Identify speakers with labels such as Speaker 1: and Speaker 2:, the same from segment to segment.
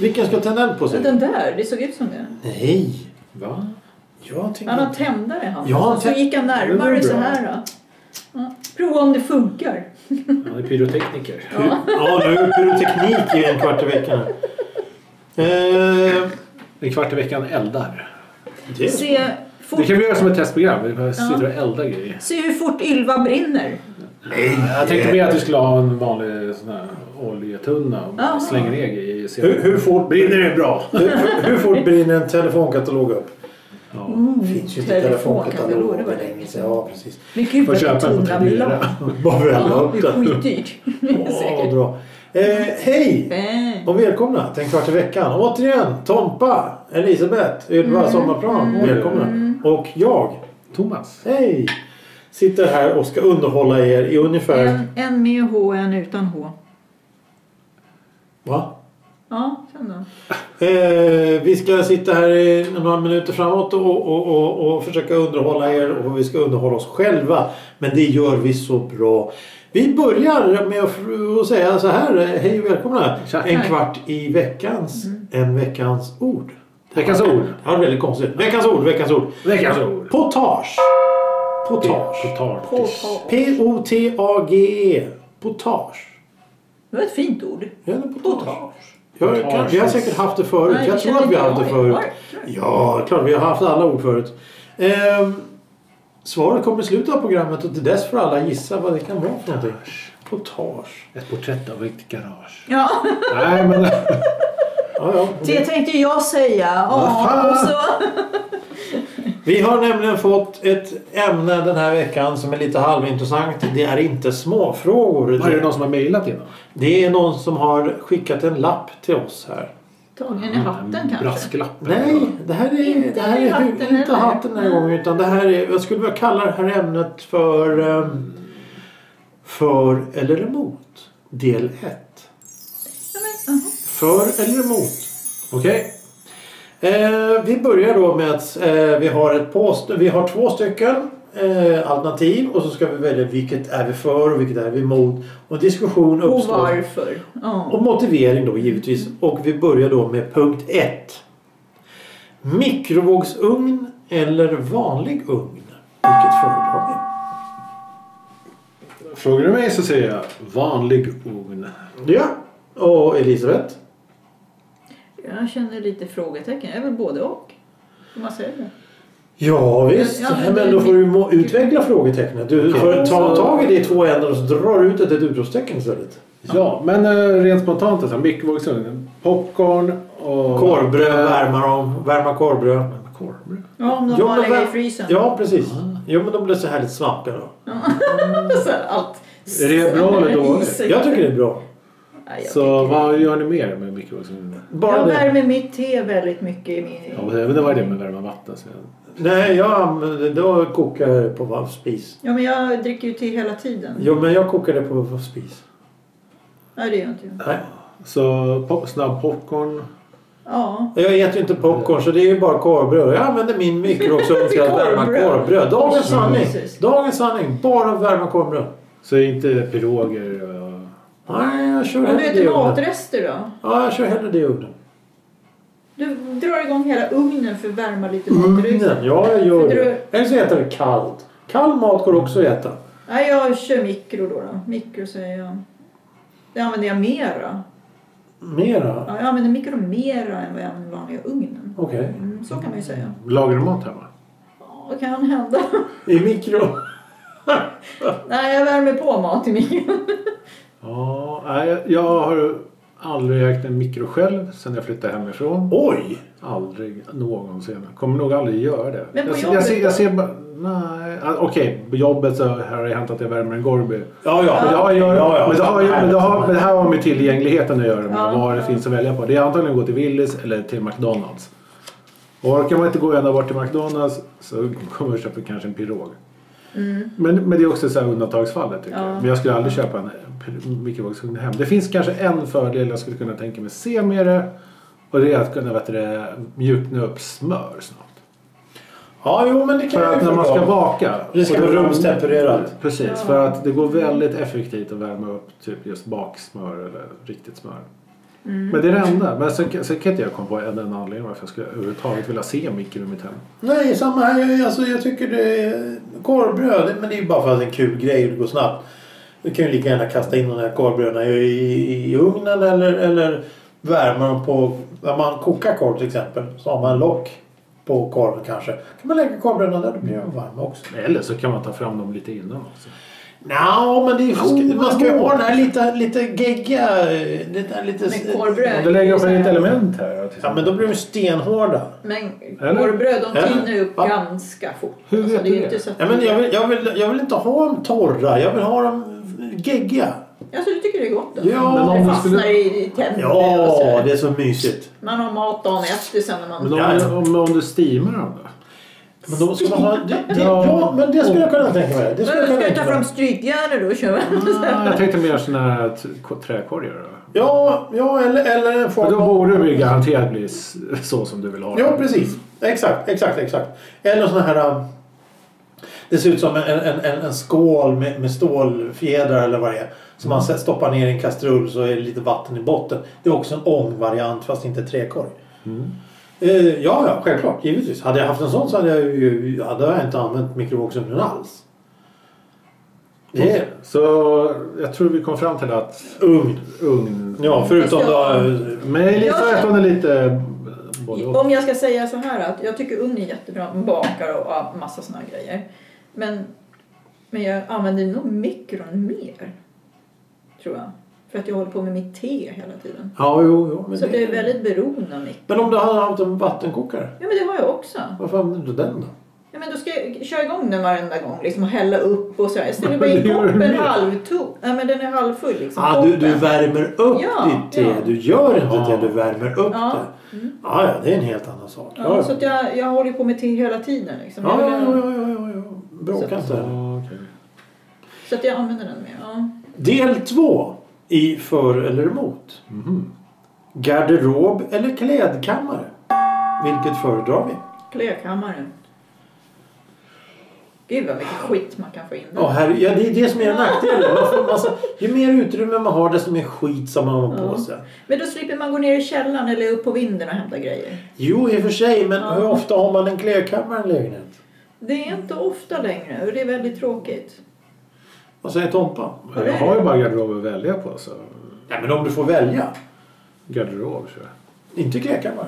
Speaker 1: Vilken ska tända eld på sig?
Speaker 2: Den där, det såg ut som det.
Speaker 1: Nej.
Speaker 3: Va?
Speaker 1: Jag tänker...
Speaker 2: Han har tändare han.
Speaker 1: Ja,
Speaker 2: så
Speaker 1: tä-
Speaker 2: gick han
Speaker 3: det var
Speaker 2: närmare
Speaker 3: bra.
Speaker 2: så här då. Ja. Prova om det funkar.
Speaker 3: Han är pyrotekniker.
Speaker 1: Ja, nu har vi pyroteknik i en kvart i veckan. Eh,
Speaker 3: Det är kvart i veckan eldar.
Speaker 1: det.
Speaker 2: Se,
Speaker 3: Det
Speaker 2: fort,
Speaker 3: kan vi göra som ett testprogram. Vi bara sitter och eldar grejer.
Speaker 2: se hur fort Ylva brinner.
Speaker 3: Jag tänkte mer att du skulle ha en vanlig sån här oljetunna och bara
Speaker 2: Aha.
Speaker 3: slänger ner grejer. i.
Speaker 1: Hur, hur fort
Speaker 3: brinner
Speaker 1: brinner,
Speaker 3: det bra?
Speaker 1: hur, hur fort brinner en telefonkatalog upp?
Speaker 3: Ja.
Speaker 1: Det finns ju inte
Speaker 2: telefonkataloger,
Speaker 1: telefonkataloger
Speaker 2: Mm. det var
Speaker 1: längre.
Speaker 2: länge
Speaker 1: så-
Speaker 2: sedan.
Speaker 1: Ja, precis.
Speaker 2: Men gud
Speaker 3: Får
Speaker 2: vad
Speaker 3: köpa
Speaker 2: det
Speaker 3: en på
Speaker 2: tunna
Speaker 3: Tradera.
Speaker 2: blad.
Speaker 1: Bara
Speaker 2: Ja, det är
Speaker 1: väl
Speaker 2: skitdyrt.
Speaker 1: Åh,
Speaker 2: Säkert.
Speaker 1: bra. Eh, hej
Speaker 2: Eh,
Speaker 1: och välkomna till en kvart i veckan. Återigen Tompa, Elisabeth, Ylva
Speaker 2: Mm.
Speaker 1: Sommarplan. Välkomna. Och jag,
Speaker 3: Thomas.
Speaker 1: hej, sitter här och ska underhålla er i ungefär...
Speaker 2: En, en med H, en utan H.
Speaker 1: Va?
Speaker 2: Ja, sen då.
Speaker 1: Eh, vi ska sitta här i några minuter framåt och, och, och, och försöka underhålla er och vi ska underhålla oss själva. Men det gör vi så bra. Vi börjar med att fr- att säga så här. eh, Hej och välkomna.
Speaker 3: Tack.
Speaker 1: En kvart i veckans, en veckans ord.
Speaker 3: Veckans ord.
Speaker 1: Det var väldigt konstigt. Veckans ord, veckans ord. Alltså,
Speaker 3: Veckans ord.
Speaker 1: Potage. Potage.
Speaker 3: Potatis.
Speaker 1: P-O-T-A-G-E. E. Potage.
Speaker 2: Det var ett fint ord.
Speaker 1: Ja, det är potage. Jag,
Speaker 3: Potage.
Speaker 1: kan, vi har säkert haft det förut.
Speaker 2: Nej,
Speaker 1: jag
Speaker 2: det
Speaker 1: tror
Speaker 2: känner
Speaker 1: att vi har
Speaker 2: inte
Speaker 1: haft det
Speaker 2: jag
Speaker 1: förut.
Speaker 2: ihåg. Tror jag.
Speaker 1: Ja, klart. Vi har haft alla ord förut. Ehm, svaret kommer i slutet av programmet och till dess får alla gissa vad det kan vara för någonting. Potage.
Speaker 3: Ett porträtt av ett garage.
Speaker 2: Ja,
Speaker 3: Nej, men...
Speaker 1: Ja, ja.
Speaker 2: det tänkte jag säga.
Speaker 1: Vad
Speaker 2: Ja,
Speaker 1: fan?
Speaker 2: och så.
Speaker 1: Vi har nämligen fått ett ämne den här veckan som är lite halvintressant. Det är inte småfrågor.
Speaker 3: Var det
Speaker 1: Det,
Speaker 3: någon som har mejlat innan?
Speaker 1: det är någon som har skickat en lapp till oss här.
Speaker 2: Tagen i
Speaker 1: Mm,
Speaker 3: Mm.
Speaker 2: hatten kanske.
Speaker 3: Braskelapp.
Speaker 1: Nej, det här är,
Speaker 2: Inte
Speaker 1: det här är
Speaker 2: hatten
Speaker 1: hu- inte
Speaker 2: heller.
Speaker 1: hatten den här gången. Utan det här är, jag skulle vilja kalla det här ämnet för ehm, För eller emot. Del 1.
Speaker 2: Ja, men, aha.
Speaker 1: För eller emot.
Speaker 3: Okej.
Speaker 1: Eh, vi börjar då med att eh, vi, har ett post, vi har två stycken eh, alternativ och så ska vi välja vilket är vi för och vilket är vi emot. Och diskussion
Speaker 2: Och
Speaker 1: uppstår.
Speaker 2: varför. Ja.
Speaker 1: Och motivering då givetvis. Och vi börjar då med punkt 1. Mikrovågsugn eller vanlig ugn? Vilket föredrar vi?
Speaker 3: Frågar du mig så säger jag vanlig ugn.
Speaker 1: Ja, och Elisabeth?
Speaker 2: Jag känner lite frågetecken. Jag är väl både och. Får man säga det?
Speaker 1: Ja visst,
Speaker 2: Ja,
Speaker 1: men,
Speaker 2: men det-
Speaker 1: då får du må- utveckla frågetecknet. Du
Speaker 3: Okej.
Speaker 1: får ta tag i det i två ändar och så drar du ut ett, ett utropstecken istället.
Speaker 3: Ja, men eh, rent spontant så här, mikrovågsugn. Popcorn och...
Speaker 1: Korvbröd, värma dem, värma korvbröd.
Speaker 3: Korvbröd?
Speaker 2: Ja, om de
Speaker 1: Jo,
Speaker 2: bara
Speaker 1: men
Speaker 2: lägger i
Speaker 1: vä-
Speaker 2: frysen.
Speaker 1: Ja, precis. Jo, men de blir så härligt svampiga då.
Speaker 2: Så här, allt.
Speaker 3: Är det bra eller dåligt?
Speaker 2: Is-
Speaker 1: Jag tycker det är bra.
Speaker 2: Nej, jag
Speaker 3: Så vad gör ni mer med mikrovågsugnen?
Speaker 1: Bara
Speaker 2: jag
Speaker 1: det.
Speaker 2: värmer mitt te väldigt mycket i min...
Speaker 3: Ja, men det var det med värma vatten. Så jag...
Speaker 1: Nej, jag använder... Då kokar jag det på varm spis.
Speaker 2: Ja, men jag dricker ju te hela tiden.
Speaker 1: Jo, men jag kokar det på varm spis.
Speaker 2: Nej, det gör inte jag.
Speaker 1: Nej.
Speaker 3: Så pop, snabb popcorn.
Speaker 2: Ja.
Speaker 1: Jag äter ju inte popcorn så det är ju bara korvbröd. Jag använder min mikrovågsugn till att värma
Speaker 2: Korvbröd. Mm.
Speaker 1: korvbröd. Dagens sanning.
Speaker 2: Precis.
Speaker 1: Dagens sanning. Bara värma korvbröd.
Speaker 3: Så inte piroger eh, och...
Speaker 1: Nej, jag kör
Speaker 2: Om du
Speaker 1: hellre det i
Speaker 2: äter
Speaker 1: ugnen.
Speaker 2: matrester då?
Speaker 1: Ja, jag kör hellre det i ugnen.
Speaker 2: Du drar igång hela ugnen för att värma lite matrester.
Speaker 1: Ugnen, ja jag gör
Speaker 2: För
Speaker 1: det. Eller så äter vi kallt. Kall mat går också att äta.
Speaker 2: Nej, jag kör mikro då. då. Mikro säger jag. Det använder jag mera.
Speaker 1: Mera?
Speaker 2: Ja, jag använder mikro mera än vad jag använder vanliga ugnen.
Speaker 1: Okej.
Speaker 2: Mm, så kan man ju säga.
Speaker 3: Lagar du mat hemma?
Speaker 2: Ja, det kan hända.
Speaker 1: I mikro?
Speaker 2: Nej, jag värmer på mat i mikron.
Speaker 3: Ja, nej, jag har aldrig ägt en mikro själv sen jag flyttade hemifrån.
Speaker 1: Oj!
Speaker 3: Aldrig någonsin. Kommer nog aldrig göra det.
Speaker 2: Men på
Speaker 3: jag, jag,
Speaker 2: jobbet
Speaker 3: ser, jag ser bara... Nej, ah, okej. På jobbet så har det hänt att jag värmer en Gorby.
Speaker 1: Ja, ja.
Speaker 3: Men det har, jag,
Speaker 1: Ja, ja.
Speaker 3: Men det, har, jag- men det, har, men det här har med tillgängligheten att göra. Med
Speaker 2: Ja.
Speaker 3: vad det finns att välja på. Det är antagligen att gå till Willys eller till McDonalds. Och orkar man inte gå ända bort till McDonalds så kommer man köpa kanske en pirog.
Speaker 2: Mm.
Speaker 3: Men, men det är också så här undantagsfallet tycker
Speaker 2: Ja.
Speaker 3: jag. Men jag skulle aldrig köpa en pr- mikrovågsugn hem. Det finns kanske en fördel jag skulle kunna tänka mig se med det. Och det är att kunna vet du, det, mjukna upp smör snabbt.
Speaker 1: Ja, jo men det kan
Speaker 3: För
Speaker 1: jag
Speaker 3: att
Speaker 1: ju
Speaker 3: när man ska
Speaker 1: förklara.
Speaker 3: baka.
Speaker 1: Det ska
Speaker 3: och
Speaker 1: vara rumstempererat.
Speaker 3: Precis,
Speaker 2: Ja.
Speaker 3: för att det går väldigt effektivt att värma upp typ just baksmör eller riktigt smör.
Speaker 2: Mm.
Speaker 3: Men det är det enda. Men sen, sen kan inte jag komma på en enda anledning varför jag skulle överhuvudtaget vilja se en mikro i mitt hem.
Speaker 1: Nej, samma här. Jag- Alltså, jag tycker det är korvbröd. Men det är ju bara för att det är en kul grej och det går snabbt. Du kan ju lika gärna kasta in de här korvbröden i, i, i ugnen eller, eller värma dem på... När man kokar korv till exempel så har man lock på korven kanske. kan man lägga korvbröden där, då blir de varma också.
Speaker 3: Eller så kan man ta fram dem lite innan också.
Speaker 1: Nja, men det är,
Speaker 3: Jo,
Speaker 1: man ska ju
Speaker 3: jo.
Speaker 1: ha den här lite, lite gegga... eh, Den här lite,
Speaker 2: Men korvbröd.
Speaker 3: Om du lägger upp ett element här. till
Speaker 1: Ja,
Speaker 3: exempel.
Speaker 1: men då blir de stenhårda.
Speaker 2: Men
Speaker 3: Eller?
Speaker 2: korvbröd de
Speaker 1: Eller?
Speaker 2: thinner upp
Speaker 1: Va?
Speaker 2: ganska fort. Alltså,
Speaker 3: Hur vet
Speaker 2: det
Speaker 3: du
Speaker 2: är ju
Speaker 3: det?
Speaker 2: inte så att
Speaker 1: Ja, men jag, vill, jag, vill, jag vill inte ha dem torra. Jag vill ha dem geggiga.
Speaker 2: Alltså du tycker det är gott? Då?
Speaker 1: Ja,
Speaker 3: Men om
Speaker 2: det
Speaker 3: du
Speaker 2: fastnar
Speaker 3: skulle-
Speaker 2: i i tänder och
Speaker 1: Ja,
Speaker 2: sådär.
Speaker 1: det är så mysigt.
Speaker 2: Man har mat dagen efter sen när man...
Speaker 3: Men om,
Speaker 1: Ja.
Speaker 3: om, om du steamar dem då?
Speaker 1: Men då ska man ha... Det, det,
Speaker 3: Ja.
Speaker 1: ja, men det skulle jag kunna tänka mig. Det
Speaker 2: Men
Speaker 1: skulle
Speaker 2: då
Speaker 1: jag
Speaker 2: ska
Speaker 1: kunna
Speaker 2: jag ta
Speaker 1: tänka
Speaker 2: fram
Speaker 1: mig.
Speaker 2: strykjärnet då och köra.
Speaker 3: Ah, jag tänkte mer såna här t- k- träkorgar. Då.
Speaker 1: Ja, ja eller, eller en form
Speaker 3: Men då
Speaker 1: av-
Speaker 3: borde det ju garanterat bli s- så som du vill ha det.
Speaker 1: Ja, precis. Exakt, exakt, exakt. Eller såna här... um, Det ser ut som en, en, en, en skål med, med stålfjädrar eller vad det är. Som man sen stoppar ner i en kastrull så är det lite vatten i botten. Det är också en ångvariant fast inte träkorg. Mm. Eh, ja, ja, självklart. Givetvis. Hade jag haft en sån så hade jag, ju, hade jag inte använt mikrovågsugnen alls. Det är
Speaker 3: Så jag tror vi kom fram till att
Speaker 1: ugn.
Speaker 3: ugn...
Speaker 1: Ja, förutom då... eh,
Speaker 3: Men jag gissar att hon är lite både och.
Speaker 2: Om jag ska säga så här att jag tycker ugn är jättebra. Man bakar och ja, massa såna här grejer. Men, men jag använder nog mikron mer. Tror jag. För att jag håller på med mitt te hela tiden.
Speaker 1: Ja, jo, jo. Men,
Speaker 2: Så att jag är
Speaker 1: det,
Speaker 2: väldigt beroende av mikron.
Speaker 1: men om du hade haft en vattenkokare?
Speaker 2: Ja men det har jag också.
Speaker 1: Varför använder du den då?
Speaker 2: Ja, men då ska jag köra igång den varenda gång liksom, och hälla upp och sådär. Jag ställer bara
Speaker 3: Det
Speaker 2: i
Speaker 3: gör du
Speaker 2: koppen
Speaker 3: med.
Speaker 2: halvtom. Nej men den är halvfull liksom.
Speaker 1: Ah, du, du
Speaker 2: Koppen.
Speaker 1: värmer upp
Speaker 2: Ja,
Speaker 1: ditt te.
Speaker 2: ja.
Speaker 1: Du gör inte
Speaker 3: Ja.
Speaker 1: det, du värmer upp
Speaker 2: Ja. Mm.
Speaker 1: det. Ah, ja, det är en helt annan sak.
Speaker 2: ja, Så att jag, jag håller på med te hela tiden liksom.
Speaker 1: ja,
Speaker 2: Jag
Speaker 1: ja,
Speaker 2: vill-
Speaker 1: ja, ja, ja, ja. Bråka inte.
Speaker 3: Ja, okej.
Speaker 2: Så att jag använder den mer. Ja.
Speaker 1: Del två i För eller emot.
Speaker 3: Mhm.
Speaker 1: Garderob eller klädkammare? Vilket föredrar vi?
Speaker 2: Klökammaren. Gud vad mycket skit man kan få in där.
Speaker 1: Ja, här, ja, det är det som är nackdelen. Man får massa, ju mer utrymme man har desto mer skit som man har på
Speaker 2: Ja.
Speaker 1: sig.
Speaker 2: Men då slipper man gå ner i källaren eller upp på vinden och hämta grejer.
Speaker 1: Jo, i och för sig, men
Speaker 2: Ja.
Speaker 1: hur ofta har man en klädkammare i en lägenhet?
Speaker 2: Det är inte ofta längre och det är väldigt tråkigt.
Speaker 1: Vad säger Tompa?
Speaker 3: Men Jag har ju bara garderob att välja på så
Speaker 1: Nej, men om du får välja.
Speaker 3: garderob tror jag.
Speaker 1: Inte klädkammare.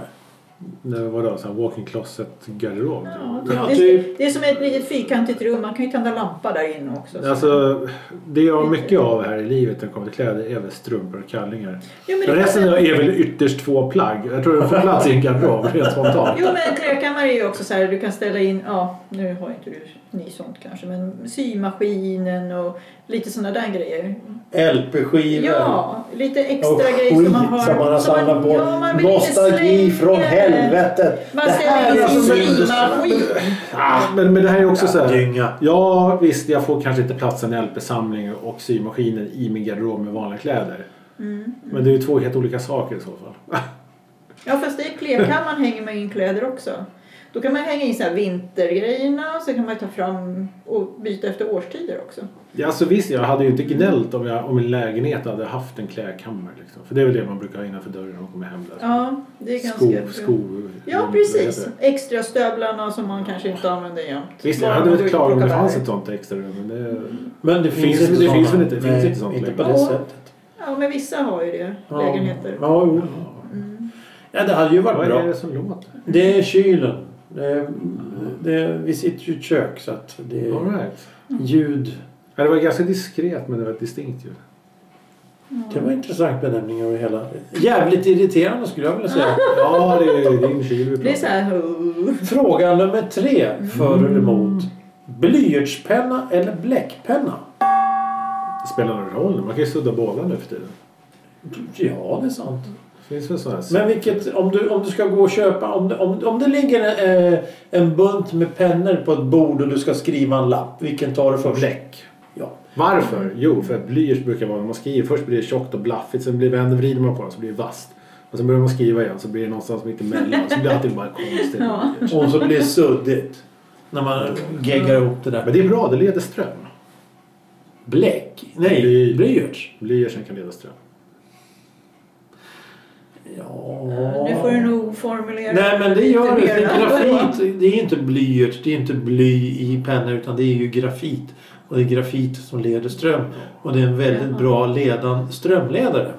Speaker 3: Nej, vadå? Sån här walk-in closet garderob?
Speaker 2: Ja,
Speaker 1: Ja,
Speaker 2: det,
Speaker 1: typ.
Speaker 2: det är som ett litet fyrkantigt rum. Man kan ju tända lampa där inne också. så-
Speaker 3: Alltså, det jag har mycket av här i livet när det kommer till kläder är väl strumpor och kallingar.
Speaker 2: Jo, men det-
Speaker 3: Resten är väl ytterst få plagg. Jag tror det får plats i en garderob rent spontant.
Speaker 2: Jo men träkammare är ju också så här, du kan ställa in, ja nu har inte du ny sånt kanske, men symaskinen och lite sådana där grejer.
Speaker 1: LP-skivor.
Speaker 2: Ja, lite
Speaker 1: Och
Speaker 2: extra
Speaker 1: skit
Speaker 2: grejer som man har.
Speaker 1: som man har samlat på.
Speaker 2: ja, man vill inte
Speaker 1: Nostalgi
Speaker 2: slänga.
Speaker 1: från helvetet.
Speaker 2: Man
Speaker 1: det här
Speaker 2: ställer
Speaker 1: är
Speaker 2: in
Speaker 1: så
Speaker 2: sin
Speaker 1: mycket
Speaker 2: maskin.
Speaker 3: Ah, men, men det här är också så här.
Speaker 1: dynga.
Speaker 3: Ja visst, jag får kanske inte platsen i LP-samling och symaskinen i min garderob med vanliga kläder.
Speaker 2: Mm.
Speaker 3: Men det är ju två helt olika saker i så fall.
Speaker 2: Ja fast i klekammaren hänger man in kläder också. Då kan man hänga in så här vintergrejerna och så kan man ta fram och byta efter årstider också.
Speaker 3: Ja, alltså visst, jag hade ju inte gnällt om, jag, om min lägenhet hade haft en klädkammare. Liksom. För det är väl det man brukar ha innanför dörren när man kommer hem. Där.
Speaker 2: Ja, det är
Speaker 3: sko,
Speaker 2: ganska...
Speaker 3: sko,
Speaker 2: Ja,
Speaker 3: vad
Speaker 2: precis.
Speaker 3: heter det?
Speaker 2: Extra stövlarna som man kanske inte använder jämt.
Speaker 3: Visst, jag
Speaker 2: Bara
Speaker 3: hade
Speaker 2: man
Speaker 3: väl
Speaker 2: går ut
Speaker 3: klarat
Speaker 2: och
Speaker 3: om det
Speaker 2: plockar Mm.
Speaker 3: fanns
Speaker 2: bär.
Speaker 3: ett sånt extra rum. Men det,
Speaker 1: Men det finns,
Speaker 3: Finns-
Speaker 1: inte
Speaker 3: det
Speaker 1: sådana.
Speaker 3: finns väl inte- finns
Speaker 1: Nej,
Speaker 3: inte sånt
Speaker 1: inte på
Speaker 3: längre.
Speaker 1: det sättet.
Speaker 2: Ja, men vissa har ju det.
Speaker 1: Ja.
Speaker 2: Lägenheter. Mm.
Speaker 1: Ja, jo. ja, det hade ju varit
Speaker 3: vad är
Speaker 1: bra.
Speaker 3: det som låter?
Speaker 1: Det är kylen. Det är, det är, vi sitter ju i ett kök så att det
Speaker 3: All
Speaker 1: är
Speaker 3: right.
Speaker 1: ljud.
Speaker 3: ja, det var ganska diskret men det var ett distinkt ljud.
Speaker 1: Det var en intressant benämning över hela. Jävligt irriterande skulle jag vilja säga.
Speaker 3: Ja, det är din kyl vi
Speaker 2: Det är
Speaker 3: pratar
Speaker 2: så här...
Speaker 1: Fråga nummer tre. För eller
Speaker 2: Mm.
Speaker 1: emot? Blyertspenna eller bläckpenna?
Speaker 3: Det spelar någon roll. Man kan ju sudda båda nu för tiden.
Speaker 1: Ja, det är sant.
Speaker 3: Finns väl sådana här
Speaker 1: Men vilket, om du, om du ska gå och köpa, om, det- om, om det ligger en, eh, en bunt med pennor på ett bord och du ska skriva en lapp, vilken tar du först? Bläck. Ja.
Speaker 3: Varför? Jo, för att blyerts brukar vara när man skriver. Först blir det tjockt och blaffigt, sen blir vänder vrider man på den så blir det vasst. Och sen börjar man skriva igen så blir det någonstans mitt emellan. Så blir det alltid bara konstigt.
Speaker 2: Ja.
Speaker 1: Och så blir det suddigt. När man geggar ihop det där.
Speaker 3: Men det är bra, det leder ström.
Speaker 1: Bläck? Nej,
Speaker 3: Bly.
Speaker 1: blyerts.
Speaker 3: Blyertsen kan leda ström.
Speaker 1: Ja...
Speaker 2: Nu får du nog formulera
Speaker 1: Nej men det
Speaker 2: lite
Speaker 1: gör det.
Speaker 2: mer.
Speaker 1: För grafit, det är inte blyerts, det är inte bly i pennor utan det är ju grafit. Och det är grafit som leder ström. Och det är en väldigt
Speaker 2: Jaha.
Speaker 1: bra ledan, strömledare.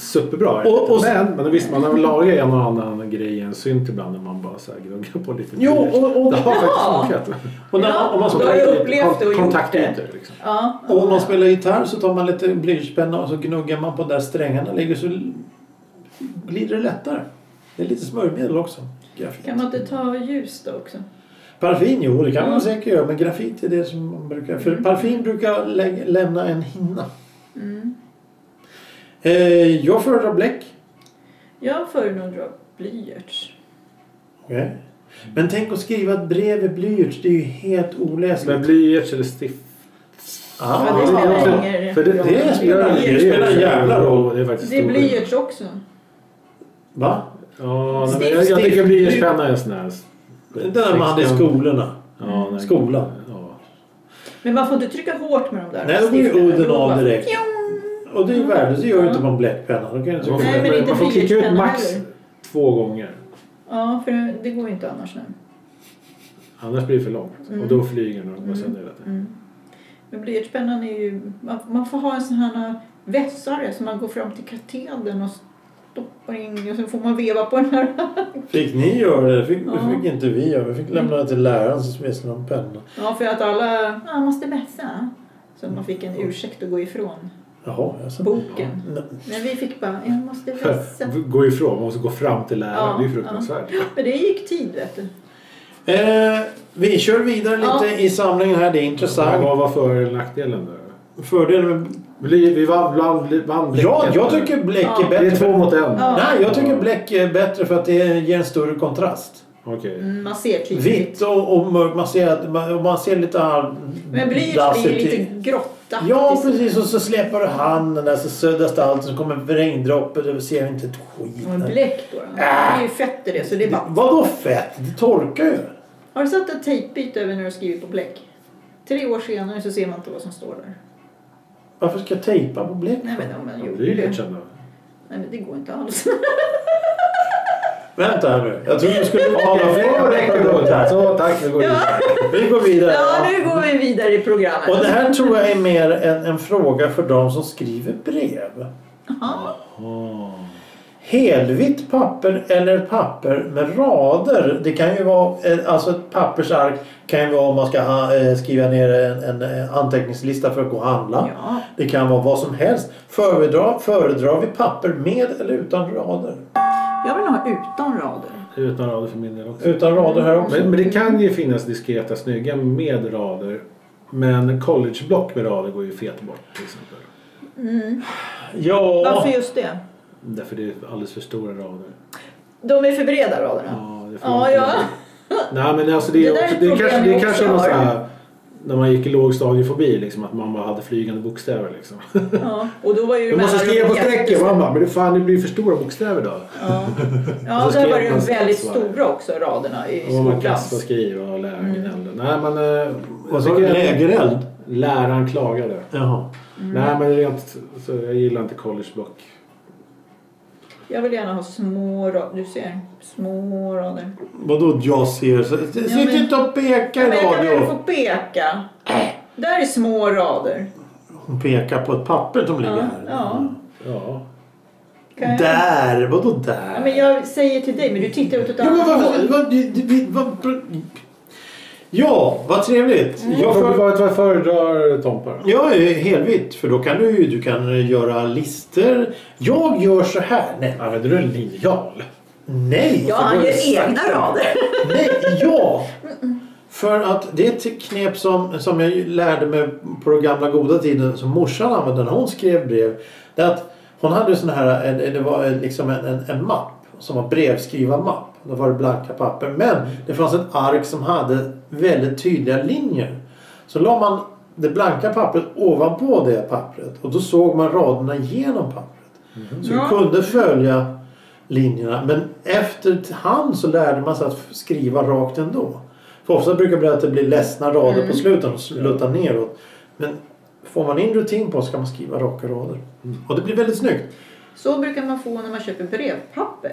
Speaker 3: Superbra.
Speaker 1: Och- och-
Speaker 3: men, men visst, man har väl lagat en och annan grej i en synt ibland när man bara så här gnuggar på lite
Speaker 1: Jo,
Speaker 3: blyerts.
Speaker 1: och- och-
Speaker 3: Det har
Speaker 2: Ja.
Speaker 3: faktiskt funkat.
Speaker 1: Och när,
Speaker 2: Ja,
Speaker 1: om, man
Speaker 2: då har jag
Speaker 1: spelar,
Speaker 2: upplevt det och gjort
Speaker 3: Kontaktytor liksom.
Speaker 2: Ja,
Speaker 1: och om man spelar gitarr så tar man lite blyertspenna och så gnuggar man på där strängarna ligger så glider det lättare. Det är lite smörjmedel också. Grafit.
Speaker 2: kan man inte ta ljus då också?
Speaker 1: Paraffin, jo det kan man
Speaker 2: Mm.
Speaker 1: säkert göra men grafit är det som man brukar... För paraffin brukar lä- lämna en hinna.
Speaker 2: Mm.
Speaker 1: Eh, jag föredrar bläck.
Speaker 2: Jag föredrar blyerts.
Speaker 1: Okej. Men tänk att skriva ett brev i blyerts. Det är ju helt
Speaker 3: Men
Speaker 1: oläsligt.
Speaker 3: blyerts eller stift.
Speaker 1: Ah,
Speaker 2: Ja, det spelar
Speaker 1: ja.
Speaker 2: ingen roll.
Speaker 3: För det, det,
Speaker 1: Det spelar-
Speaker 3: gör-
Speaker 1: det spelar en jävla roll.
Speaker 3: Det är faktiskt
Speaker 2: Det är
Speaker 3: stor-
Speaker 2: blyerts också.
Speaker 1: Va?
Speaker 3: Ja, nej, men jag,
Speaker 2: Stift,
Speaker 3: jag
Speaker 1: stift.
Speaker 3: tycker blyertspenna är en sån här...
Speaker 1: Den där man hade i skolorna.
Speaker 3: Ja, nej.
Speaker 1: Skolan.
Speaker 3: Ja.
Speaker 2: Men man får inte trycka hårt med de där.
Speaker 1: Nej, då blir ju
Speaker 2: stiften.
Speaker 1: udden
Speaker 2: Det går
Speaker 1: av
Speaker 2: bara-
Speaker 1: direkt. Och det är ju värdelöst. Det gör du inte på en bläckpenna. Då kan du
Speaker 3: Man får,
Speaker 1: inte-
Speaker 2: Nej, men inte
Speaker 3: man får klicka ut
Speaker 2: blyertspenna
Speaker 3: max
Speaker 2: heller.
Speaker 3: två gånger.
Speaker 2: Ja, för det- det går ju inte annars nu.
Speaker 3: Annars blir det för långt. Och då flyger den och går sönder hela tiden.
Speaker 2: Mm. Men blyertspennan är ju... Man, man får ha en sån här vässare som man går fram till katedern och stoppar in och sen får man veva på den här.
Speaker 1: Fick ni göra det? Fick,
Speaker 2: Ja.
Speaker 1: fick inte vi göra. Vi fick lämna det till läraren som smetsade någon penna.
Speaker 2: Ja, för att alla... Ja, måste vässa. Så man fick en ursäkt att gå ifrån
Speaker 1: Jaha, alltså.
Speaker 2: boken.
Speaker 1: Nej.
Speaker 2: Men vi fick bara, jag måste vässa.
Speaker 3: Gå ifrån, man måste gå fram till läraren.
Speaker 2: Mm. Ja,
Speaker 3: det är ju fruktansvärt.
Speaker 2: Men det gick tid, vet du.
Speaker 1: Eh, vi kör vidare lite
Speaker 2: Ja.
Speaker 1: i samlingen här. Det är
Speaker 3: Men
Speaker 1: intressant.
Speaker 3: Vad var för eller nackdelen då?
Speaker 1: Fördelen med...
Speaker 3: Bly, vi vann, vann, vann
Speaker 1: Ja,
Speaker 3: bläcket.
Speaker 1: jag tycker bläck är
Speaker 2: Ja.
Speaker 3: Det är
Speaker 1: bättre.
Speaker 3: två mot en.
Speaker 2: Ja.
Speaker 1: Nej, jag tycker bläck är bättre för att det ger en större kontrast.
Speaker 3: Okej.
Speaker 2: Mm, Man ser tydligt.
Speaker 1: Vitt och, och mörkt. Man ser, man, man ser lite halv...
Speaker 2: Men blyerts blir
Speaker 1: dassigt
Speaker 2: ju
Speaker 1: i-
Speaker 2: lite grått.
Speaker 1: Ja, precis. Och så släpar du handen där så suddas det allt. Så kommer regndroppar och då ser vi inte ett skit.
Speaker 2: Och en bläck då. då. Det är ju fett i det, så det är bara...
Speaker 1: Vadå fett? Det torkar ju.
Speaker 2: Har du satt ett tejpbyte över när du skrivit på bläck? Tre år senare så ser man inte vad som står där.
Speaker 1: Varför ska jag tejpa på bläck?
Speaker 2: Nej men om man
Speaker 3: Okay.
Speaker 2: gjorde
Speaker 3: Blyerts
Speaker 2: det.
Speaker 3: ändå.
Speaker 2: Nej men det går inte alls.
Speaker 1: Vänta här nu. Jag trodde du skulle tala
Speaker 3: Ja,
Speaker 1: för
Speaker 3: det räcker då.
Speaker 1: här.
Speaker 3: Så, tack. Vi går vidare.
Speaker 1: Vi går vidare.
Speaker 2: Ja, nu går vi vidare i programmet.
Speaker 1: Och det här tror jag är mer en, en fråga för de som skriver brev.
Speaker 2: Jaha.
Speaker 3: Åh.
Speaker 1: Helvitt papper eller papper med rader. Det kan ju vara, eh, alltså ett pappersark kan ju vara om man ska ha, eh, skriva ner en, en eh, anteckningslista för att gå och handla.
Speaker 2: Ja.
Speaker 1: Det kan vara vad som helst. Föredrar, föredrar vi papper med eller utan rader?
Speaker 2: Jag vill ha utan rader.
Speaker 3: Utan rader för min del också.
Speaker 1: Utan rader här också.
Speaker 3: Men, men det kan ju finnas diskreta snygga med rader. Men collegeblock med rader går ju fet bort till exempel.
Speaker 1: Ja.
Speaker 2: Varför just det?
Speaker 3: Därför det är alldeles för stora rader.
Speaker 2: De är för breda raderna.
Speaker 3: Ja, det får
Speaker 2: Ja,
Speaker 3: man
Speaker 2: ja.
Speaker 3: inte göra. Nej, men alltså det,
Speaker 2: Det
Speaker 3: är
Speaker 2: där är
Speaker 3: också,
Speaker 2: ett
Speaker 3: det,
Speaker 2: problem
Speaker 3: är kanske, det är
Speaker 2: jag
Speaker 3: kanske
Speaker 2: också
Speaker 3: någon så
Speaker 2: har.
Speaker 3: här, när man gick i lågstadiefobi, liksom, att man bara hade flygande bokstäver. Liksom.
Speaker 2: ja. Och då var ju
Speaker 3: Du måste
Speaker 2: mellanrummen
Speaker 3: skriva på strecken.
Speaker 2: jättestora.
Speaker 3: Man bara, men det, fan, det blir för stora bokstäver då.
Speaker 2: Ja, ja
Speaker 3: Och så
Speaker 2: där
Speaker 3: skrev
Speaker 2: var det ju
Speaker 3: man
Speaker 2: väldigt
Speaker 3: svaret.
Speaker 2: stora också raderna i
Speaker 3: Och man
Speaker 2: skolan.
Speaker 3: kastar och skriver och
Speaker 2: Mm.
Speaker 3: läraren gnällde. Nej, men... eh,
Speaker 1: Vad
Speaker 3: jag
Speaker 1: sa du?
Speaker 3: tycker att-
Speaker 1: Lägereld?
Speaker 3: Läraren klagade.
Speaker 1: Jaha.
Speaker 2: Mm.
Speaker 3: Nej, men rent, så jag gillar inte collegeblock.
Speaker 2: Jag vill gärna ha små rader. Du ser, små rader.
Speaker 1: Vadå jag ser? Så- Sitt
Speaker 2: men-
Speaker 1: inte och peka i
Speaker 2: Men jag kan väl få
Speaker 1: radio.
Speaker 2: peka. Där är små rader.
Speaker 1: Hon pekar på ett papper som ligger
Speaker 2: Ja,
Speaker 1: här.
Speaker 2: ja.
Speaker 3: Ja.
Speaker 2: Kan jag-
Speaker 1: Där! Vadå
Speaker 2: Ja,
Speaker 1: där?
Speaker 2: men jag säger till dig, men du tittar åt ett
Speaker 1: Ja, men
Speaker 2: annat
Speaker 1: vad,
Speaker 2: håll.
Speaker 1: vad, du- du- vi- vad, pr- ja, vad trevligt.
Speaker 2: Mm.
Speaker 1: Jag, för,
Speaker 3: Vad vad föredrar Tompa då?
Speaker 1: jag är helvitt för då kan du, ju- du kan göra lister. Jag gör så här. Nej,
Speaker 3: Använder du en linjal?
Speaker 1: nej,
Speaker 2: Ja, han gör egna rader.
Speaker 1: nej ja. För att det är ett knep som, som jag ju lärde mig på den gamla goda tiden som morsan använde när hon skrev brev. Det är att Hon hade ju sån här, en, en- det var en- liksom en, en, en mapp som var brevskrivarmapp. Då var det blanka papper. Men det fanns ett ark som hade väldigt tydliga linjer. Så la man det blanka pappret ovanpå det pappret och då såg man raderna genom pappret. Så
Speaker 2: Ja.
Speaker 1: du kunde följa linjerna. Men efterhand så lärde man sig att skriva rakt ändå. För ofta brukar det bli att det blir ledsna rader
Speaker 2: Mm.
Speaker 1: på slutet och sluttar neråt. Men får man in rutin på så kan man skriva raka rader.
Speaker 2: Mm.
Speaker 1: Och det blir väldigt snyggt.
Speaker 2: Så brukar man få när man köper brevpapper.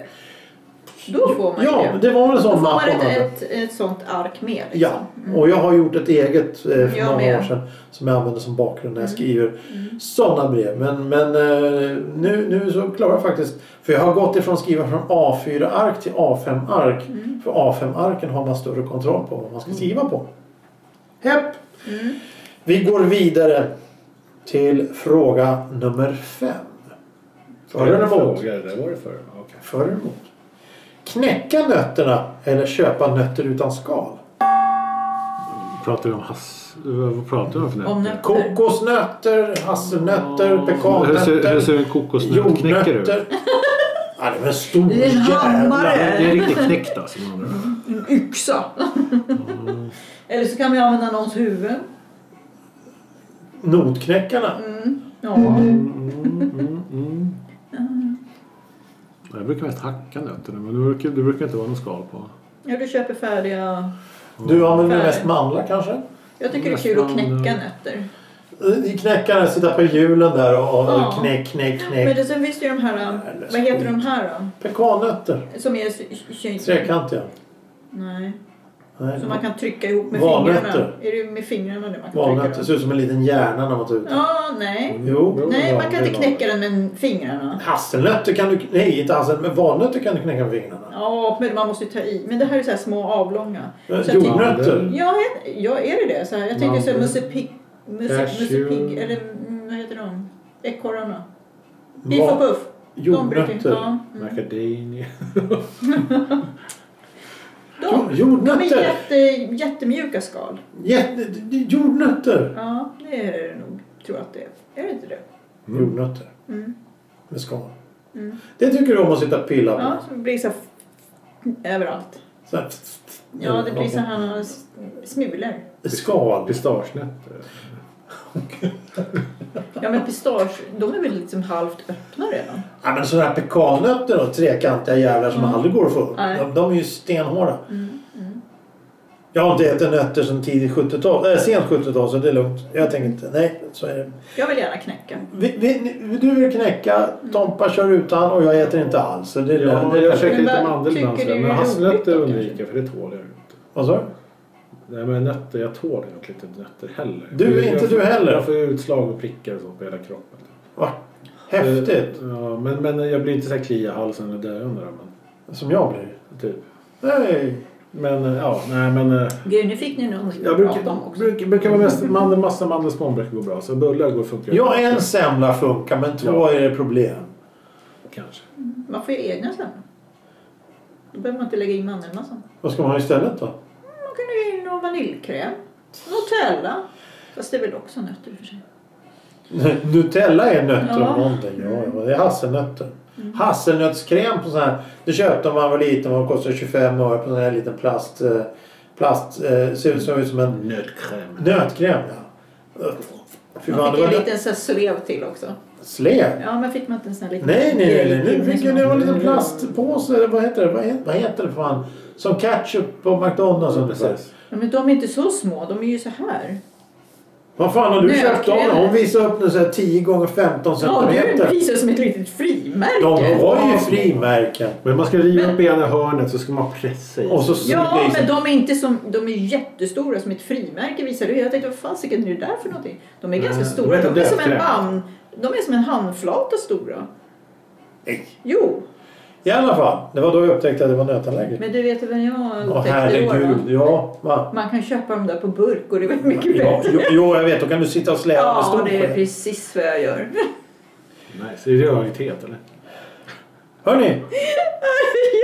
Speaker 2: Då får man
Speaker 1: Ja,
Speaker 2: det.
Speaker 1: det var en
Speaker 2: Då Oh får
Speaker 1: sån mapp
Speaker 2: man
Speaker 1: hon hade.
Speaker 2: ett, ett, ett sånt ark med. Liksom.
Speaker 1: Ja, och jag har gjort ett eget eh, för
Speaker 2: Jag
Speaker 1: några
Speaker 2: med.
Speaker 1: år sedan som jag använder som bakgrund när jag
Speaker 2: Mm.
Speaker 1: skriver sådana brev. Men, men eh, nu, nu så klarar jag faktiskt, för jag har gått ifrån att skriva från A4-ark till A5-ark.
Speaker 2: Mm.
Speaker 1: För A5-arken har man större kontroll på vad man ska skriva på. Hepp!
Speaker 2: Mm.
Speaker 1: Vi går vidare till fråga nummer fem. För eller emot?
Speaker 3: Fråga, det var det förr. Okej.
Speaker 1: För eller emot? Knäcka nötterna eller köpa nötter utan skal?
Speaker 3: Pratar vi om hass... Vad pratar vi om för nötter?
Speaker 2: Om nötter.
Speaker 1: Kokosnötter, hasselnötter,
Speaker 3: Hur ser, hur
Speaker 1: pekannötter,
Speaker 3: ser en kokosnöt knäcker ut?
Speaker 1: jordnötter. Ja, det är en stor
Speaker 2: Det är en hammare.
Speaker 1: jävla...
Speaker 3: Det är riktigt knäckt alltså. med andra ord.
Speaker 2: En yxa.
Speaker 1: Mm.
Speaker 2: Eller så kan vi använda någons huvud.
Speaker 1: Notknäckarna.
Speaker 2: Mm. Ja.
Speaker 3: Mm, mm, mm. Jag brukar mest hacka nötterna men det brukar, det brukar inte vara något skal på.
Speaker 2: ja, du köper färdiga...
Speaker 1: Du använder
Speaker 2: Färg.
Speaker 1: mest mandlar kanske?
Speaker 2: Jag tycker det är kul att knäcka nötter.
Speaker 1: I Knäckarna, sitta på hjulen där och och
Speaker 2: Ja.
Speaker 1: knäck, knäck,
Speaker 2: Men
Speaker 1: knäck.
Speaker 2: det, sen finns det ju de här...
Speaker 1: Eller
Speaker 2: Vad heter
Speaker 1: skit.
Speaker 2: de här
Speaker 1: Pekannötter.
Speaker 2: då? Som är... sy- sy-
Speaker 1: Trekantiga.
Speaker 2: Nej.
Speaker 1: Nej.
Speaker 2: Som man kan trycka ihop med
Speaker 1: Valnötter.
Speaker 2: fingrarna. Är det med fingrarna det man kan
Speaker 1: Valnötter.
Speaker 2: trycka?
Speaker 1: Ser ut som en liten hjärna när man tar ut
Speaker 2: då?
Speaker 1: den.
Speaker 2: Ja, nej.
Speaker 1: Jo.
Speaker 2: Nej,
Speaker 1: ja,
Speaker 2: man kan
Speaker 1: det
Speaker 2: inte
Speaker 1: var-
Speaker 2: knäcka den med fingrarna.
Speaker 1: Hasselnötter kan du... Nej, inte hasselnötter. Men valnötter kan du knäcka med fingrarna.
Speaker 2: Ja, men man måste ju ta i. Men det här är så här små avlånga. Så jag tycker-
Speaker 1: Jordnötter.
Speaker 2: Ja, jag- ja, är det det? Så här, jag tänkte så
Speaker 3: Mandel.
Speaker 2: Musse Pigg, Musse
Speaker 3: Cashew.
Speaker 2: Musse Pigg, eller mm, vad heter de? Ekorrarna. Piff och
Speaker 1: Va-
Speaker 2: Puff. De brukar
Speaker 1: Jordnötter.
Speaker 2: ja, mm.
Speaker 3: Macadamia.
Speaker 1: Jo-
Speaker 2: De, de är
Speaker 1: Jordnötter.
Speaker 2: jätte, jättemjuka skal.
Speaker 1: Jätte... Jordnötter.
Speaker 2: Ja, det är det nog. Tror jag att det är. Är det inte det?
Speaker 1: Jordnötter.
Speaker 2: Mm.
Speaker 1: Med skal.
Speaker 2: Mm.
Speaker 1: Det tycker du om att sitta och pilla på.
Speaker 2: Ja, så det blir så här f- överallt.
Speaker 1: Så här,
Speaker 2: Ja, det blir så här s- smulor.
Speaker 1: Skal.
Speaker 3: Pistagenötter.
Speaker 2: Ja, men pistage, de är väl liksom halvt öppna redan?
Speaker 1: Ja, men sådana här pekannötter och trekantiga jävlar som aldrig går att få upp.
Speaker 2: Nej.
Speaker 1: De, de är ju stenhårda.
Speaker 2: Mm, mm.
Speaker 1: Jag har inte ätit nötter sedan tidigt 70-tal. Äh, sent 70-tal så det är lugnt. Jag tänker inte. Nej, så är det.
Speaker 2: Jag vill gärna knäcka.
Speaker 1: Vi, vi, ni- du vill knäcka,
Speaker 2: Mm.
Speaker 1: Tompa kör utan och jag äter inte alls. Så det är
Speaker 3: Ja,
Speaker 1: det är
Speaker 3: jag käkar
Speaker 2: Men
Speaker 3: lite
Speaker 2: vad
Speaker 3: mandel ibland
Speaker 2: tycker
Speaker 3: sådär,
Speaker 2: du
Speaker 3: men
Speaker 2: är
Speaker 3: hasselnötter
Speaker 2: roligt då,
Speaker 3: undviker jag för det tål jag ju inte.
Speaker 1: Vad sa du?
Speaker 3: Nej men nötter, jag tål inte lite nötter heller.
Speaker 1: Du,
Speaker 3: Jag
Speaker 1: inte
Speaker 3: får-
Speaker 1: du heller.
Speaker 3: Jag får utslag och prickar och så på hela kroppen. Eh,
Speaker 1: Va? Häftigt.
Speaker 3: Ja, men, men jag blir inte så här kli i halsen eller döende då, men
Speaker 1: Som jag blir.
Speaker 3: typ.
Speaker 1: Nej.
Speaker 3: Men eh, ja, nej men... eh,
Speaker 2: Gud, nu fick ni någonting
Speaker 3: Jag
Speaker 2: att prata om
Speaker 3: brukar,
Speaker 2: också.
Speaker 3: brukar, brukar vara mest, mandel, massa mandelspån brukar gå bra. Så bullar går funkar.
Speaker 1: Ja, en semla funkar men två
Speaker 3: Ja.
Speaker 1: är det problem.
Speaker 3: Kanske.
Speaker 2: Man får ju egna sen. Då behöver man inte lägga in mandelmassan.
Speaker 1: Vad ska man ha istället då?
Speaker 2: Man kan lägga in någon vaniljkräm. Nutella. Fast det är väl också nötter i och för sig.
Speaker 1: Nutella är nötter
Speaker 2: Ja. Mm.
Speaker 1: om någonting. Ja, ja, det är hasselnötter. Hasselnötskräm på sån här. Det köpte man när man var liten och kostade 25 öre på sån här liten plast. eh, Plast. eh, Ser ut såg ut som en
Speaker 3: Nötkräm.
Speaker 1: nötkräm. Ja. Fy fan,
Speaker 2: Man
Speaker 1: det
Speaker 2: fick
Speaker 1: var
Speaker 2: en
Speaker 1: lite
Speaker 2: liten sån här slev till också.
Speaker 1: slev.
Speaker 2: Ja, men fick man inte en sån här liten
Speaker 1: Nej, nej, nej. nej. Nu
Speaker 2: grej
Speaker 1: fick
Speaker 2: som
Speaker 1: jag det var en liten
Speaker 2: man-
Speaker 1: plastpåse. eller Vad heter det? Vad heter, vad heter det för fan? Som ketchup på McDonalds.
Speaker 3: Ja,
Speaker 1: ungefär.
Speaker 3: precis.
Speaker 2: Ja, men de är inte så små. De är ju så här.
Speaker 1: Vad fan har du köpt av
Speaker 2: Nötkräm.
Speaker 1: Hon visade upp den så här 10 gånger 15
Speaker 2: Ja, du
Speaker 1: centimeter.
Speaker 2: visar som ett litet
Speaker 1: De
Speaker 2: frimärke.
Speaker 1: har ju frimärken.
Speaker 3: Men man ska riva upp ena hörnet så ska man pressa i.
Speaker 1: Och så
Speaker 2: Ja,
Speaker 1: det är
Speaker 2: men de är inte som... De är jättestora som ett frimärke visar du. Jag tänkte, vad fasiken är det där för någonting? De är ganska
Speaker 3: Nej,
Speaker 2: stora.
Speaker 3: de är
Speaker 2: De är som en
Speaker 3: dövkräm.
Speaker 2: band... De är som en handflata stora.
Speaker 1: Nej.
Speaker 2: Jo,
Speaker 1: I alla fall, det var då jag upptäckte att det var nötallergi.
Speaker 2: men du vet vem jag
Speaker 1: Åh
Speaker 2: upptäckte i år? va?
Speaker 1: herregud, ja. Va?
Speaker 2: Man kan köpa dem där på burk och det är väldigt mycket
Speaker 1: Ja,
Speaker 2: bättre.
Speaker 1: jo, jo, jag vet. Då kan du sitta och släda med
Speaker 2: Ja,
Speaker 1: stol
Speaker 2: det
Speaker 1: på
Speaker 2: är
Speaker 1: det.
Speaker 2: precis vad jag gör.
Speaker 3: Nice. Är det rörighet eller?
Speaker 1: Hörni,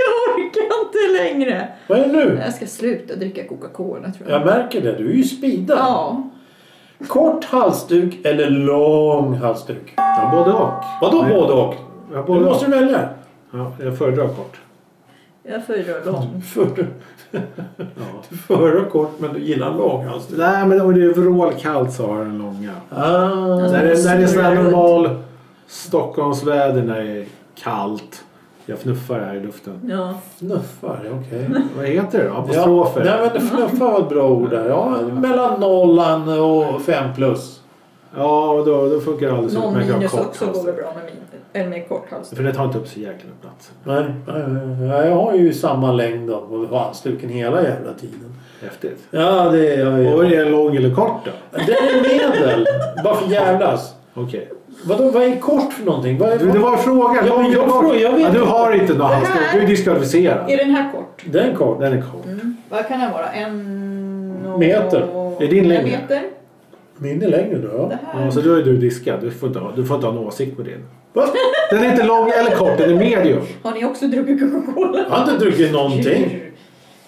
Speaker 2: Jag orkar inte längre.
Speaker 1: vad är det nu?
Speaker 2: Jag ska sluta dricka Coca-Cola tror jag.
Speaker 1: Jag märker det. Du är ju speedad.
Speaker 2: Ja.
Speaker 1: Kort halsduk eller lång halsduk?
Speaker 3: Ja, både och.
Speaker 1: Vadå
Speaker 3: Nej.
Speaker 1: både och?
Speaker 3: Ja,
Speaker 1: Nu
Speaker 3: både
Speaker 1: måste du välja.
Speaker 3: och. Ja, jag föredrar kort.
Speaker 2: Jag föredrar lång.
Speaker 1: För,
Speaker 3: Ja.
Speaker 1: för och kort men du gillar lång halsduk.
Speaker 3: Nej, men om det är vrålkallt så har den långa.
Speaker 1: Ah,
Speaker 2: Alltså, den
Speaker 3: När det, när det är sån här
Speaker 2: snurrar runt.
Speaker 3: normal Stockholmsväder när det är kallt. Jag fnuffar här i luften.
Speaker 2: Ja.
Speaker 1: Fnuffar, okej.
Speaker 3: Vad heter det då?
Speaker 1: Ja,
Speaker 3: Apostrofer?
Speaker 1: nej, men fnuffar var ett bra ord där. Ja, mellan nollan och fem plus.
Speaker 3: Ja, och då, då funkar det alldeles
Speaker 2: Någon
Speaker 3: utmärkt att ha
Speaker 2: minus
Speaker 3: kort
Speaker 2: också
Speaker 3: halsduk.
Speaker 2: går väl bra med, min, eller med kort halsduk.
Speaker 3: För det tar inte upp så jäkla med plats.
Speaker 1: Nej, nej, nej, jag har ju samma längd då på halsduken hela jävla tiden.
Speaker 3: Häftigt.
Speaker 1: Ja, det är jag
Speaker 3: Och
Speaker 1: ju.
Speaker 3: är den lång eller kort då?
Speaker 1: Den är medel. Bara för jävlas.
Speaker 3: Okej.
Speaker 1: Vadå, vad är kort för någonting? Vad är,
Speaker 3: Du, det var frågan.
Speaker 1: Ja, men
Speaker 3: Lång
Speaker 1: jag
Speaker 3: eller kort?
Speaker 1: frågar, jag vet
Speaker 3: ja, du
Speaker 1: inte.
Speaker 3: har inte någon
Speaker 2: Det
Speaker 3: halsduk.
Speaker 2: här-
Speaker 3: Du är diskvalificerad.
Speaker 2: Är den här kort?
Speaker 1: Den är kort.
Speaker 3: Den är kort.
Speaker 2: Mm. Vad kan den vara? En och...
Speaker 1: Meter.
Speaker 3: Är din
Speaker 2: en
Speaker 3: längre?
Speaker 2: meter?
Speaker 1: Min är längre då. ja.
Speaker 2: Det här?
Speaker 3: Ja, så då är du diskad. Du får, inte ha, du får inte ha en åsikt på din.
Speaker 1: Va?
Speaker 3: Den är inte lång eller kort. Den är medium.
Speaker 2: Har ni också druckit Coca-Cola?
Speaker 1: Jag har inte druckit någonting.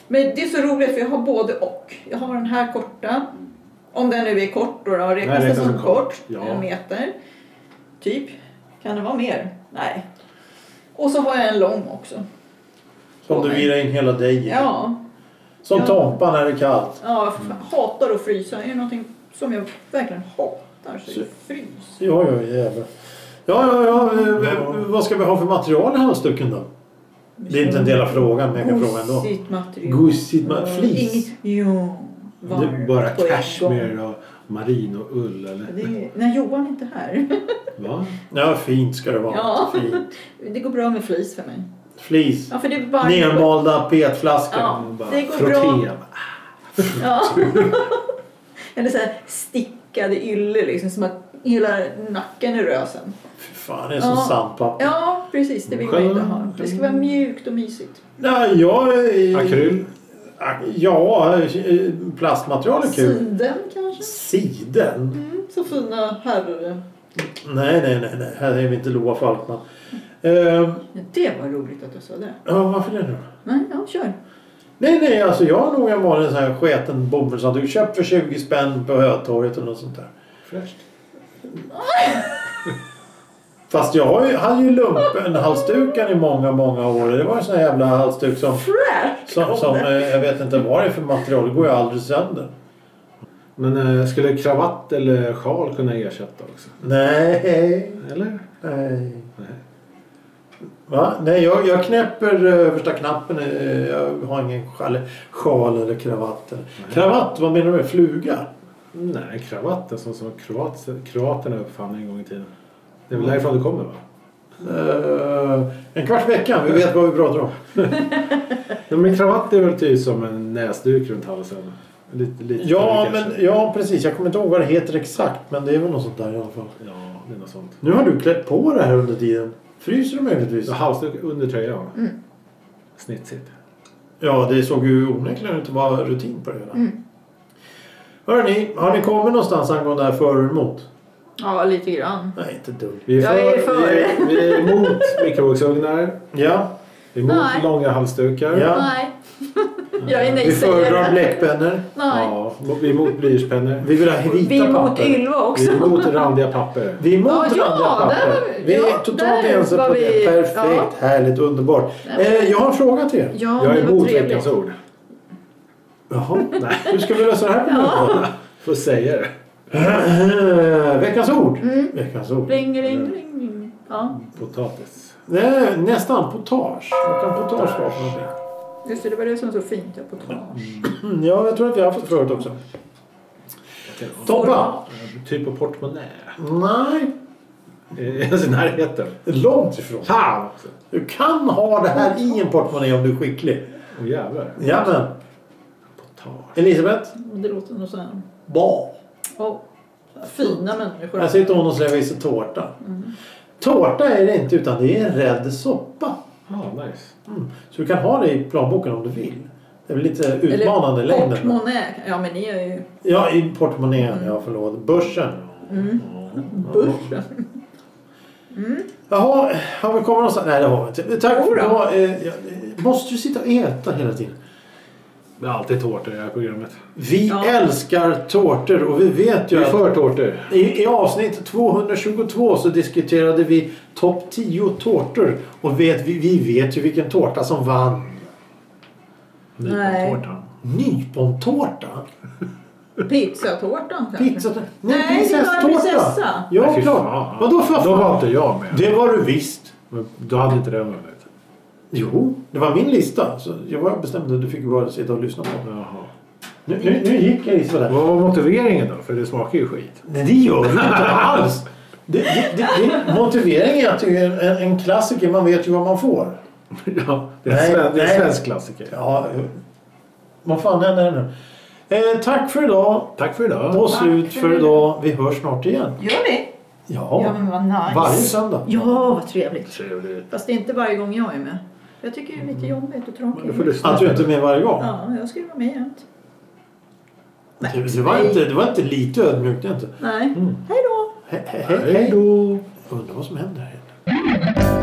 Speaker 2: Men det är så roligt för jag har både och. Jag har den här korta. Om den nu är kort då, då räknas
Speaker 3: Nej,
Speaker 2: den
Speaker 3: räknas
Speaker 2: som
Speaker 3: som
Speaker 2: kort.
Speaker 3: kort. Ja.
Speaker 2: En meter. Typ. Kan det vara mer? Nej. Och så har jag en lång också.
Speaker 1: Som du virar in hela dig i.
Speaker 2: Ja.
Speaker 1: Som
Speaker 2: Ja.
Speaker 1: Tompa när det är kallt.
Speaker 2: Ja, jag fan, hatar att frysa. Är det någonting som jag verkligen hatar så är det frys.
Speaker 1: Ja, ja, jävlar. Ja, ja, ja. eh,
Speaker 3: Ja.
Speaker 1: Vad ska vi ha för material i halsduken då? Det är inte en del av frågan, men jag kan fråga ändå.
Speaker 2: Gosigt material.
Speaker 1: Gosigt med flis.
Speaker 2: Eh, Inget- Ja.
Speaker 3: Det är
Speaker 2: varmt
Speaker 3: bara
Speaker 2: på en gång.
Speaker 3: cashmere och merinoull eller?
Speaker 2: Det är, när Johan är inte här.
Speaker 3: Va?
Speaker 1: Ja, fint ska det vara.
Speaker 2: Ja.
Speaker 1: Fint.
Speaker 2: Det går bra med flis för mig.
Speaker 1: Flis.
Speaker 2: Ja, för det är varmt.
Speaker 1: Nermalda petflaskor.
Speaker 2: Ja,
Speaker 3: Bara
Speaker 2: det går bra.
Speaker 3: frotté.
Speaker 2: Ja. Eller så här stickade ylle liksom som att hela nacken i rösen.
Speaker 1: Fy fan, det är som
Speaker 2: Ja.
Speaker 1: sandpapper.
Speaker 2: Ja, precis. Det vill man inte ha. Det ska vara mjukt och mysigt.
Speaker 1: Nej, jag... är-
Speaker 3: Akryl.
Speaker 1: eh, Ja, eh, plastmaterial är kul.
Speaker 2: Siden kanske?
Speaker 1: Siden?
Speaker 2: Mm, så fina herrar.
Speaker 1: Nej, nej, nej, nej. Här är vi inte Loa Falkman. Eh,
Speaker 2: Det var roligt att du sa det.
Speaker 1: ja, varför det då?
Speaker 2: Nej, ja, kör.
Speaker 1: Nej, nej, alltså jag har nog en vanlig sån här sketen bomullshandduk. Köpt för 20 spänn på Hötorget eller något sånt där.
Speaker 3: Fräscht.
Speaker 1: Fast jag har ju, hade ju lumpenhalsduken i många, många år. Det var en sån här jävla halsduk som...
Speaker 2: Fräsch!
Speaker 1: Som,
Speaker 2: kom
Speaker 1: som
Speaker 2: det.
Speaker 1: eh, jag vet inte vad det är för material. Det går ju aldrig sönder.
Speaker 3: Men eh, skulle kravatt eller sjal kunna ersätta också?
Speaker 1: Nej.
Speaker 3: Eller?
Speaker 1: Nej.
Speaker 3: Nej.
Speaker 1: Va? Nej, jag, jag knäpper eh, översta knappen. eh, Jag har ingen sjal, sjal eller kravatt. eller- Kravatt, vad menar du med fluga?
Speaker 3: Nej, kravatten som, som kroat, kroaterna uppfann en gång i tiden. Det är väl därifrån det kommer va?
Speaker 1: Eh, en kvarts vecka, vi vet vad vi pratar om.
Speaker 3: Nej, men kravatt är väl typ som en näsduk runt halsen? Lite, lite
Speaker 1: Ja,
Speaker 3: kanske.
Speaker 1: men, ja, precis. Jag kommer inte ihåg vad det heter exakt, men det är väl något sånt där i alla fall.
Speaker 3: Ja, det är något sånt.
Speaker 1: Nu har du klätt på det här under tiden. Fryser du möjligtvis?
Speaker 3: Så halsduk under tröjan?
Speaker 2: Mm.
Speaker 3: Snitsigt.
Speaker 1: Ja, det såg ju onekligen ut att vara rutin på det hela.
Speaker 2: Mm.
Speaker 1: Hörrni, har ni kommit någonstans angående det här för och emot?
Speaker 2: Ja, lite grann.
Speaker 1: Nej, inte dumt.
Speaker 3: Vi
Speaker 2: Jag är för.
Speaker 3: Vi är, vi är emot mikrovågsugnar.
Speaker 1: Ja,
Speaker 3: Vi är emot
Speaker 2: Nej.
Speaker 3: långa halsdukar.
Speaker 1: Ja.
Speaker 2: Nej. jag är
Speaker 1: vi föredrar
Speaker 2: nej-sägare.
Speaker 1: bläckpennor.
Speaker 2: Nej.
Speaker 3: Ja, vi är emot blyertspennor.
Speaker 1: Vi vill ha
Speaker 2: Vi
Speaker 1: vita
Speaker 2: är mot
Speaker 1: papper.
Speaker 2: Ylva också.
Speaker 3: Vi är emot randiga papper.
Speaker 1: Vi är emot
Speaker 2: Ja, ja,
Speaker 1: andra
Speaker 2: där
Speaker 1: papper.
Speaker 2: var vi-
Speaker 1: vi är
Speaker 2: ja,
Speaker 1: totalt
Speaker 2: där
Speaker 1: ense
Speaker 2: var
Speaker 1: på
Speaker 2: vi-
Speaker 1: det. Perfekt,
Speaker 2: ja.
Speaker 1: härligt, underbart.
Speaker 2: Där var
Speaker 1: Eh, jag har en fråga till er.
Speaker 2: Ja,
Speaker 3: Jag
Speaker 2: det
Speaker 3: är
Speaker 2: var
Speaker 3: emot
Speaker 2: trevligt.
Speaker 3: Veckans Ord.
Speaker 1: Jaha, nej. Hur ska vi lösa det här problemet?
Speaker 3: Får säga det.
Speaker 1: Eh, Veckans ord.
Speaker 2: Mm.
Speaker 1: Veckans ord.
Speaker 2: Ring, ring,
Speaker 1: Mm.
Speaker 2: ring, ring. Ja,
Speaker 3: Potatis.
Speaker 1: Nej, nästan potage. Vad kan potage vara för någonting?
Speaker 2: just det. Det var det som var så fint. Ja, potage.
Speaker 1: Mm, ja, jag tror att vi har haft det förut också. Toppa!
Speaker 3: Typ på portmonnä.
Speaker 1: Nej,
Speaker 3: Eh, Alltså närheten.
Speaker 1: långt ifrån.
Speaker 3: Fan också.
Speaker 1: Du kan ha det här i en portmonnaie om du är skicklig.
Speaker 3: Åh jävlar.
Speaker 1: Jajamän.
Speaker 3: Potatis.
Speaker 1: Elisabeth?
Speaker 2: Det låter nog så här.
Speaker 1: Ba.
Speaker 2: Åh, Fina människor.
Speaker 1: Här sitter hon och släpper i sig tårta. Tårta är det inte utan det är en rädd soppa.
Speaker 3: Ah, nice.
Speaker 1: Mm. Så du kan ha det i planboken om du vill. Det är väl lite utmanande i längden.
Speaker 2: portmonnä. Ja, men ni är ju...
Speaker 1: Ja, i portmonnän. Ja, förlåt. Börsen.
Speaker 3: Mm.
Speaker 2: Börsen.
Speaker 1: Jaha, har vi kommit någonstans? Nej, det har vi inte. Tack för
Speaker 2: Jodå.
Speaker 1: idag. Eh, jag- eh, Måste du sitta och äta hela tiden?
Speaker 3: Det är alltid tårtor i det här programmet.
Speaker 1: Vi
Speaker 2: Ja.
Speaker 1: älskar tårtor och vi vet
Speaker 3: Vi
Speaker 1: ju
Speaker 3: är
Speaker 1: att
Speaker 3: för tårtor.
Speaker 1: i, i avsnitt 222 så diskuterade vi topp 10 tårtor. Och vet, vi, vi vet ju vilken tårta som vann.
Speaker 2: Nej.
Speaker 3: Nypontårtan.
Speaker 1: Nypontårta?
Speaker 2: Pizzatårtan kanske?
Speaker 1: Pizza? Nej,
Speaker 2: Nej, det var
Speaker 1: prinsesstårta!
Speaker 2: prinsessa.
Speaker 1: Ja,
Speaker 3: Nej, fy
Speaker 1: klart.
Speaker 3: fan.
Speaker 1: Vadå för
Speaker 3: Då var
Speaker 1: fan?
Speaker 3: inte jag med.
Speaker 1: Det var du visst.
Speaker 3: Men Då hade inte den vunnit.
Speaker 1: Jo, det var min lista. Så jag var bestämd att du fick bara sitta och lyssna på den.
Speaker 3: Jaha.
Speaker 1: Nu, nu, nu gick jag i sådär.
Speaker 3: Vad var motiveringen då? För det smakar ju skit.
Speaker 1: Nej, det gör det inte alls. Det, det, det, det, motiveringen är att det är en, en klassiker. Man vet ju vad man får.
Speaker 3: ja, det är en,
Speaker 1: Nej,
Speaker 3: sven- det är
Speaker 1: nej.
Speaker 3: en svensk klassiker.
Speaker 1: Ja, eh, vad fan händer här nu? Eh, tack för idag.
Speaker 3: Tack för idag.
Speaker 1: Då
Speaker 2: Tack
Speaker 1: slut
Speaker 2: för
Speaker 1: för idag. Vi hörs snart igen.
Speaker 2: Gör vi? Ja,
Speaker 1: Ja,
Speaker 2: men vad nice.
Speaker 1: varje söndag.
Speaker 2: Ja, vad trevligt.
Speaker 3: Trevligt.
Speaker 2: Fast det är inte varje gång jag är med. Jag tycker det är lite jobbigt och
Speaker 3: Men Du får
Speaker 2: tråkigt.
Speaker 3: lyssna.
Speaker 1: Att du inte är med varje gång.
Speaker 2: Ja, jag ska ju vara med jämt.
Speaker 1: Det, det, var inte, det var inte lite ödmjukt inte.
Speaker 2: Nej. Hej då!
Speaker 1: He, he, he,
Speaker 3: Hej
Speaker 1: hej.
Speaker 3: då.
Speaker 1: Undrar vad som händer här inne.